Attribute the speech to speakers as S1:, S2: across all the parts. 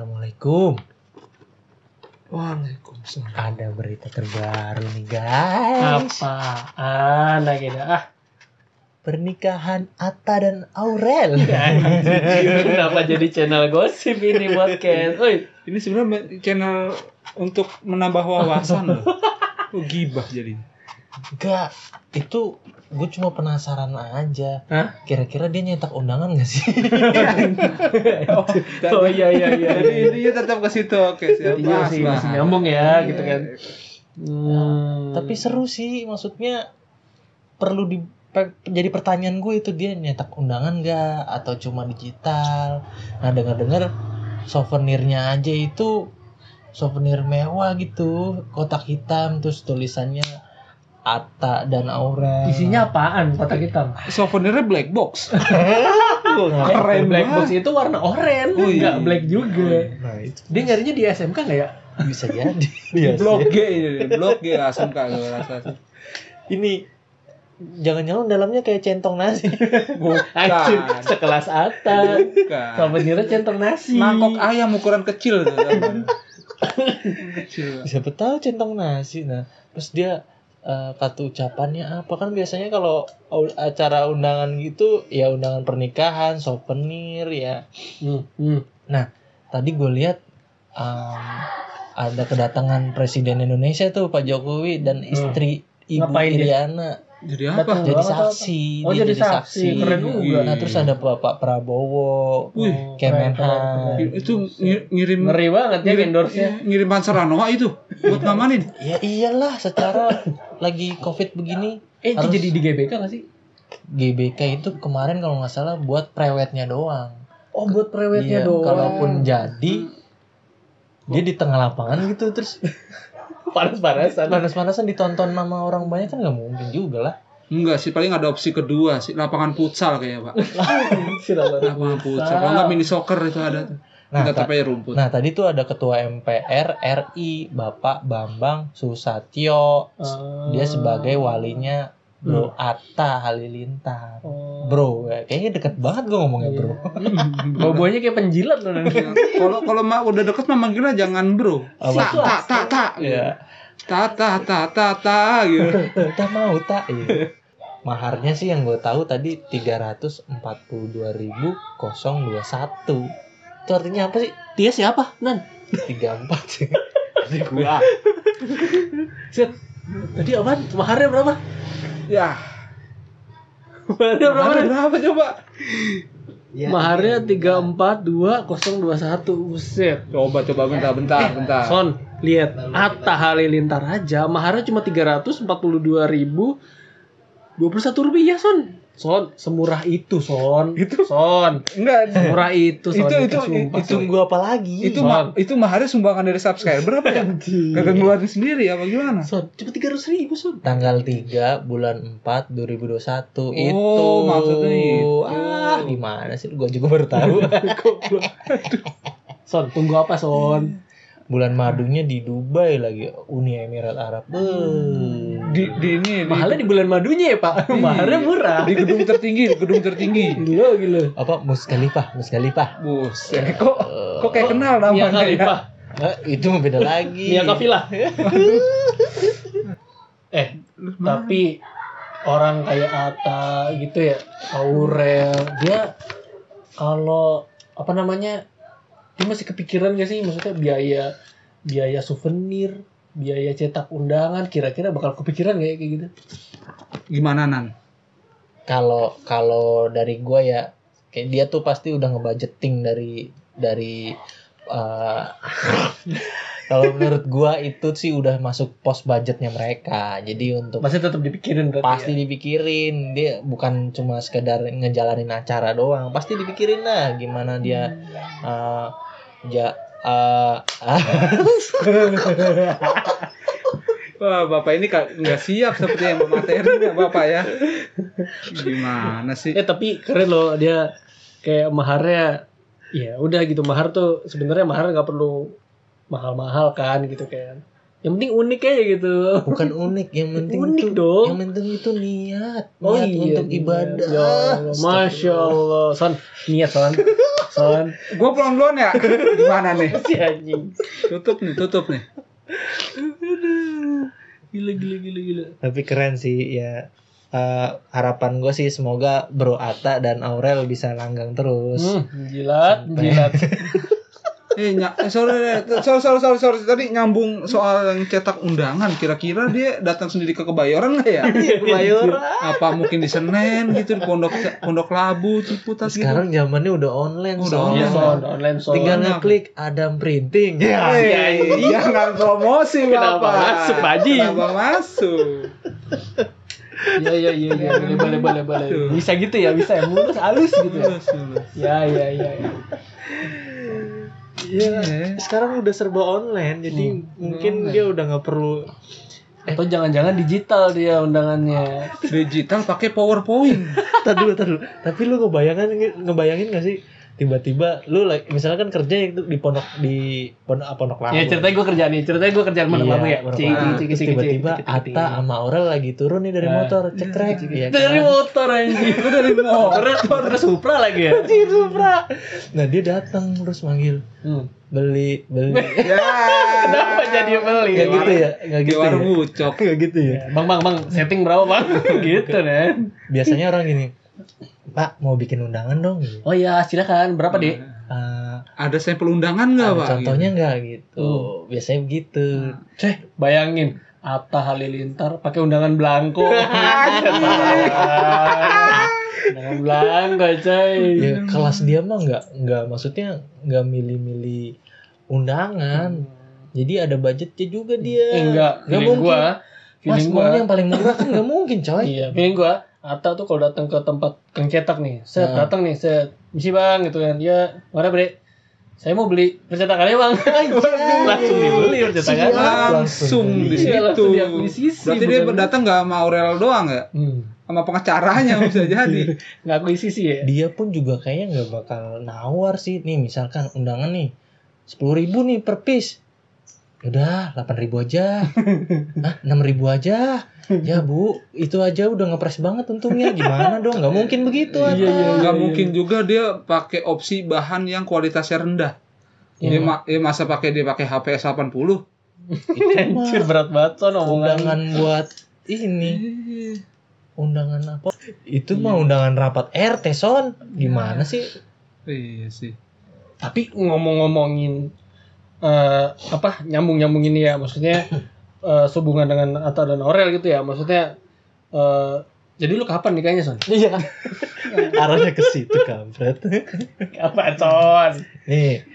S1: Assalamualaikum.
S2: Waalaikumsalam.
S1: Ada berita terbaru nih guys.
S2: Apaan lagi dah? Ah,
S1: Pernikahan Atta dan Aurel.
S2: Iya. anjing. kenapa jadi channel gosip ini podcast? Oi,
S3: Ini sebenarnya me- channel untuk menambah wawasan loh. Lu gibah jadi.
S1: Enggak, itu gue cuma penasaran aja.
S2: Hah?
S1: Kira-kira dia nyetak undangan gak sih?
S2: oh iya iya iya.
S3: Jadi intinya tetap ke situ. Oke, siap.
S2: Intinya
S3: Mas,
S2: masih,
S3: Mas.
S2: masih nyambung ya gitu kan.
S3: Iya.
S2: Hmm.
S1: Tapi seru sih, maksudnya perlu di pe- jadi pertanyaan gue itu dia nyetak undangan gak atau cuma digital. Nah, dengar-dengar souvenirnya aja itu souvenir mewah gitu, kotak hitam terus tulisannya Atta dan Aura.
S2: Isinya apaan kotak hitam?
S3: Souvenirnya black box. Keren
S2: black
S3: banget.
S2: box itu warna oranye,
S3: Ui.
S2: enggak black juga.
S1: Nah, itu
S2: Dia nyarinya di SMK enggak ya?
S1: bisa jadi. Iya sih.
S3: Blok G ini, blok G asam kak gue rasa.
S1: Ini jangan-jangan dalamnya kayak centong nasi.
S2: Anjing,
S3: Bukan,
S2: sekelas Atta.
S3: bukan.
S2: Souvenirnya centong nasi.
S3: Mangkok ayam ukuran kecil. tuh, kan. kecil.
S1: siapa tahu centong nasi nah terus dia eh, kata ucapannya apa kan biasanya kalau au- acara undangan gitu ya undangan pernikahan souvenir ya Nah,
S2: Hmm, hmm.
S1: tadi gue lihat em, ada kedatangan presiden Indonesia tuh Pak Jokowi dan istri Ibu
S2: Ngapain dia?
S1: Iriana
S3: Jadi apa?
S2: Datang.
S1: jadi
S2: Oh, apa-apa.
S1: saksi
S2: Oh,
S1: dia
S2: jadi saksi. Keren juga.
S1: nah terus ada Bapak Prabowo
S3: Wih,
S2: Oh,
S1: Kemenhan.
S2: keren, keren.
S3: Itu ngi- ngirim
S2: ngeri banget ya
S3: ngirim-
S2: Iya. endorse-nya.
S3: Ngiriman seranoa itu buat ngamanin.
S1: ya iyalah secara lagi covid begini
S2: Eh, itu
S1: Harus-
S2: jadi di GBK gak sih?
S1: GBK itu kemarin kalau nggak salah buat prewednya doang
S2: Oh, buat prewednya
S1: Iya,
S2: doang.
S1: Kalaupun jadi, dia di tengah lapangan gitu terus
S2: panas-panasan.
S1: panas-panasan ditonton sama orang banyak kan nggak mungkin juga lah.
S3: Enggak sih, paling ada opsi kedua sih, lapangan futsal kayak Pak. Lapangan futsal. Kalau enggak mini soccer itu ada tuh.
S1: Nah,
S3: Kita
S1: ta-
S3: tapi rumput.
S1: nah tadi tuh ada ketua MPR RI Bapak Bambang Susatyo.
S2: Ah.
S1: Dia sebagai walinya Bro
S2: Hmm.
S1: Atta Halilintar.
S2: Oh.
S1: Bro, kayaknya deket banget gue ngomongnya
S2: Iya.
S1: bro.
S2: Bobonya kayak penjilat loh nanti.
S3: Iya. Kalau kalau mah udah deket mah manggilnya jangan bro.
S1: Apa?
S3: Tak tak tak tak.
S1: Iya.
S3: Tak tak tak tak tak gitu.
S1: Tak mau tak. Iya. Maharnya sih yang gue tahu tadi 342.021. Itu artinya apa sih?
S2: Dia siapa, Nan?
S1: tiga empat sih gua
S2: Set. Tadi apaan? Maharnya berapa?
S3: Ya.
S2: Maharnya berapa?
S3: Berapa, berapa coba?
S2: Iya. Maharnya 342021. Buset.
S3: Coba coba bentar bentar bentar.
S2: Son, lihat Atta Halilintar aja maharnya cuma 342.021 rupiah, Son. Son, semurah itu, Son.
S3: Itu-
S2: Son,
S3: Enggak.
S2: semurah itu, Son.
S3: Itu- itu-
S2: sumpah,
S3: itu
S2: Son.
S1: tunggu apa lagi
S3: Itu ma itu maharnya sumbangan dari subscriber apa ya? Kagak ngeluarin sendiri apa gimana?
S2: Son, cuma 300.000 ribu, Son.
S1: tanggal 3 bulan 4 2021 itu
S3: Oh, maksudnya itu.
S1: ah gimana sih gua juga baru tahu
S2: Son, tunggu apa, Son?
S1: bulan madunya di Dubai lagi Uni Emirat Arab
S2: Hmm.
S1: Eh.
S3: Di di ini di,
S2: Mahalnya di bulan madunya ya, Pak. Maharnya murah.
S3: di gedung tertinggi, di gedung tertinggi.
S2: Gila, gila.
S1: apa Muskalifah Muskalifah
S3: Buset, Eh, kok kok kayak kenal namanya.
S2: Eh,
S3: ya?
S2: iya kali, Pak.
S1: Eh, itu beda lagi
S2: Mia Kafilah. eh, tapi orang kayak Ata gitu ya, Aurel, dia kalau apa namanya? Dia masih kepikiran gak sih maksudnya biaya biaya souvenir, biaya cetak undangan kira-kira bakal kepikiran gak ya kayak gitu?
S3: Gimana Nan?
S1: kalau kalau dari gua ya kayak dia tuh pasti udah ngebudgeting dari dari eh, kalau menurut gua itu sih udah masuk pos budgetnya mereka jadi untuk
S2: Masih tetap dipikirin berarti.
S1: pasti
S2: ya?
S1: dipikirin dia bukan cuma sekedar ngejalanin acara doang pasti dipikirin lah gimana dia
S2: Hmm.
S1: eh, ja- eh,
S3: Wah, Bapak ini ka- nggak siap seperti yang materinya Bapak ya. Gimana sih?
S2: Eh tapi keren loh dia kayak maharnya ya udah gitu mahar tuh sebenarnya mahar nggak perlu mahal-mahal kan gitu kan. Yang penting unik aja gitu.
S1: bukan unik yang penting
S2: Unik
S1: itu
S2: dong.
S1: yang penting itu niat niat untuk
S2: Oh iya, niat.
S1: ibadah
S2: Ya Allah, Masya Allah. Son, niat son. Son.
S3: Gue pulang duluan ya. Gimana nih?
S2: Si
S1: Ya,
S2: anjing.
S3: Tutup nih, tutup nih.
S2: Gila gila gila gila.
S1: Tapi keren sih ya. Eh, harapan gue sih semoga Bro Ata dan Aurel bisa langgang terus.
S2: Hmm, jilat, jilat.
S3: Eh, ny- eh, sorry, deh. sorry, sorry, sorry, sorry. Tadi nyambung soal yang cetak undangan. Kira-kira dia datang sendiri ke Kebayoran nggak ya?
S1: Iya Kebayoran.
S3: Apa mungkin di Senen gitu, di Pondok Pondok Labu, Ciputat gitu.
S1: Sekarang zamannya udah online.
S3: Udah
S1: Son.
S2: Online
S3: online.
S2: Iya, son, online son.
S1: Tinggal ngeklik Adam Printing. Ya.
S2: iya,
S3: Hei, jangan Eh, iya, promosi
S2: Kenapa
S3: bapak.
S2: masuk, Pak Haji?
S3: Kenapa masuk?
S2: Iya iya iya iya. Boleh boleh boleh boleh.
S3: Tuh.
S2: Bisa gitu ya, bisa ya. Mulus halus gitu ya.
S3: Lulus, lulus.
S2: Ya ya ya. ya.
S3: Iya.
S1: Sekarang udah serba online, jadi
S2: Hmm.
S1: mungkin
S3: Online.
S1: dia udah nggak perlu
S2: Atau jangan-jangan digital dia undangannya.
S3: Digital pakai PowerPoint.
S1: Tar dulu, tar dulu. Tapi lu ngebayangkan ngebayangin gak sih tiba-tiba lu like, misalkan kerja itu di pondok di pondok apa pondok lama.
S2: Ya ceritanya gue kerjaan nih, ceritanya gue kerjaan mana mana ya. Cing, cing, cing,
S1: Iya, Terus
S2: cing,
S1: tiba-tiba
S2: cing, cing, cing,
S1: Ata sama Aurel lagi turun nih dari
S2: Ah.
S1: motor, cekrek ya
S2: cing. dari
S1: kan.
S2: motor anjing. Gue dari motor. Terus Supra lagi ya.
S1: Anjir, Supra. Nah, dia datang terus manggil
S2: Hmm.
S1: beli beli
S3: Ya.
S2: Kenapa jadi beli?
S1: Gak gitu ya, gak
S3: Di
S1: gitu ya.
S3: warung Ucok.
S1: Gak gitu ya.
S2: Bang, bang, bang, setting berapa bang? gitu nen.
S1: Biasanya orang gini, Pak mau bikin undangan dong. gitu.
S2: Oh iya, silakan. Berapa deh?
S1: Ah,
S3: Ada sampel undangan nggak, Pak?
S1: ada Nah, contohnya nggak gitu.
S2: Hmm.
S1: Biasanya begitu.
S2: Ceh, bayangin. Atta Halilintar pakai undangan belangko. undangan belangko, coy.
S1: ya kelas dia mah nggak nggak maksudnya nggak milih-milih undangan jadi ada budgetnya juga dia
S2: Eh, enggak,
S1: nggak
S2: feeling
S1: Ya mungkin
S2: gua.
S1: mas
S2: Feeling gua.
S1: maunya yang paling murah kan nggak mungkin coy
S2: Iya, feeling gua. Atta tuh kalau datang ke tempat kang cetak nih, set
S1: Nah.
S2: datang nih, set misi bang gitu kan. Ya, mana bre? Saya mau beli percetakannya bang. Langsung dibeli percetakannya.
S3: Langsung di
S2: Iya,
S3: situ.
S2: langsung diakuisisi,
S3: Berarti dia
S2: bukan?
S3: datang nggak sama Aurel doang ya?
S2: Hmm.
S3: Sama pengacaranya bisa jadi.
S2: Nggak aku isi sih ya.
S1: dia pun juga kayaknya nggak bakal nawar sih nih misalkan undangan nih sepuluh ribu nih per piece Ya udah delapan ribu aja Hah, enam ribu aja ya bu itu aja udah ngepres banget untungnya gimana dong nggak mungkin begitu
S2: Iya,
S1: Atta.
S2: iya, iya.
S3: Nggak mungkin juga dia pakai opsi bahan yang kualitasnya rendah.
S2: Iya.
S3: Dia, ma- dia masa pakai dia pakai HPS 80.
S2: Anjir berat banget son omongan.
S1: undangan buat ini undangan apa itu mah undangan rapat RT son gimana sih
S3: Iya sih.
S2: Tapi ngomong-ngomongin eh apa nyambung-nyambungin ya maksudnya eh sehubungan dengan Atta dan Aurel gitu ya. Maksudnya eh jadi lu kapan nikahnya son?
S1: iya arahnya ke situ kampret
S2: Kapan son?
S1: nih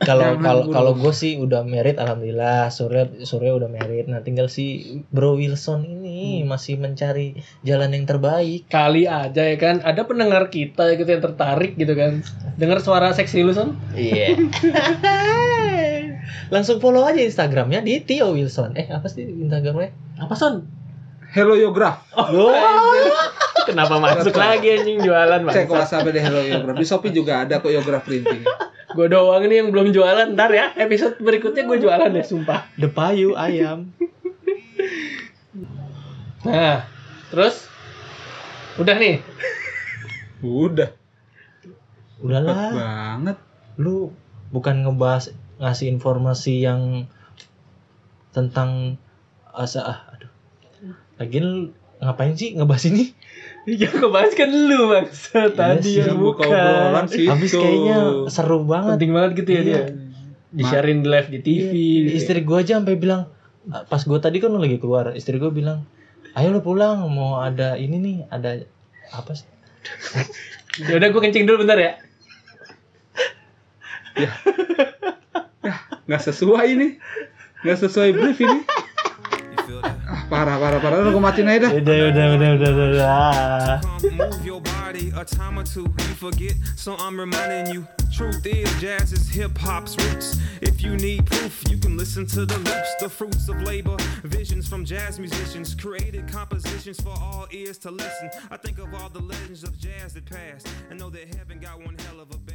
S1: kalau
S3: Jangan
S1: kalau
S3: buru.
S1: kalau gue sih udah merit alhamdulillah Surya Surya udah merit nah tinggal si Bro Wilson
S2: Hmm.
S1: ini masih mencari jalan yang terbaik
S2: Kali aja ya kan ada pendengar kita gitu yang tertarik gitu kan. Dengar suara seksi lu son?
S1: iya langsung follow aja Instagramnya di Tio Wilson eh apa sih Instagramnya
S2: Apa son?
S3: Hello Yograf.
S1: oh,
S2: Kenapa masuk lagi anjing jualan
S3: Cek
S2: bang?
S3: WhatsApp deh Hello Yograf. Di Shopee juga ada kok Yograf printing.
S2: Gue doang nih yang belum jualan ntar ya episode berikutnya gue jualan deh sumpah.
S1: the payu ayam
S2: Nah, terus udah nih.
S3: Udah
S1: udahlah
S3: banget.
S1: lu bukan ngebahas ngasih informasi yang tentang asa ah, aduh lagian lu ngapain sih ngebahas ini Iya
S2: Yang kebahas kan lu bangsa
S1: sih,
S2: tadi yang
S3: buka
S2: bukan.
S3: obrolan sih.
S1: habis
S3: Itu.
S1: kayaknya seru banget
S2: Penting banget gitu ya dia.
S1: Iya.
S2: Di-sharein di live di TV. gitu.
S1: istri gua aja sampai bilang ah, pas gua tadi kan lu lagi keluar istri gua bilang ayo lu pulang mau ada ini nih ada apa sih
S2: Ya udah gue kencing dulu bentar ya.
S3: Nggak sesuai ini. Nggak sesuai brief ini. Ah, parah parah parah. Udah gue matiin aja dah.
S1: udah udah udah udah udah, udah.
S4: Pump, move your body a time or two. You forget, so I'm reminding you. Truth is, jazz is hip hop's roots. If you need proof, you can listen to the loops, the fruits of labor, visions from jazz musicians, created compositions for all ears to listen. I think of all the legends of jazz that passed, and know that heaven got one hell of a band.